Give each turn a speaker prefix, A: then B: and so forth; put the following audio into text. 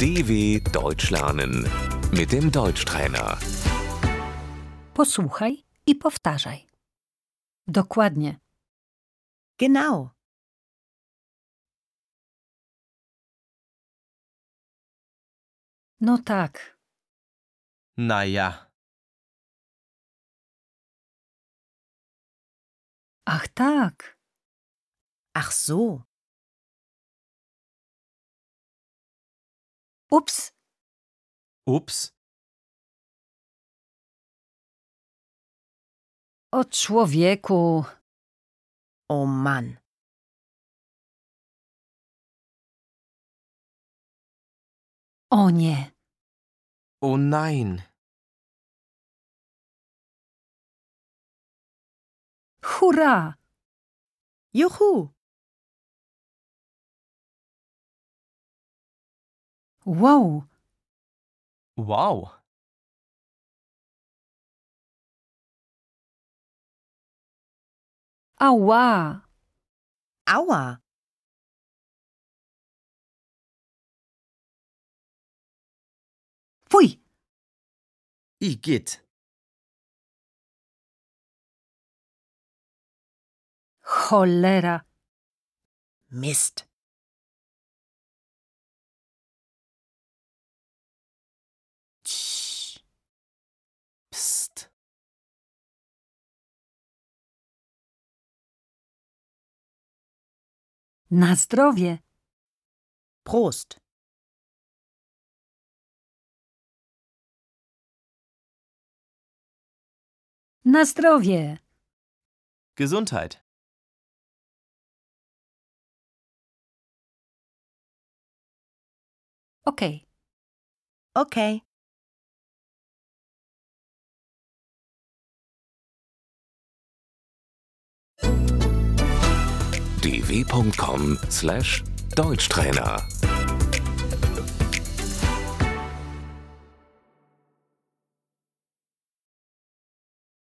A: DW Deutsch lernen mit dem Deutschtrainer.
B: Posłuchaj i powtarzaj. Dokładnie.
C: Genau.
B: No tak.
D: Naja,
B: Ach tak.
C: Ach so.
B: Ups,
D: ups,
B: o człowieku.
C: Oh Mann.
B: O nie.
D: oh nein,
B: Hurra!
C: Juhu.
B: Wow,
D: wow,
B: ała.
C: Aua.
B: Fuj,
D: igitt,
B: cholera.
C: Mist.
B: Cii.
D: pst,
B: Na zdrowie.
C: Prost.
B: Na zdrowie.
D: Gesundheit.
B: Okej.
C: Okay.
A: dw.com/deutschtrainer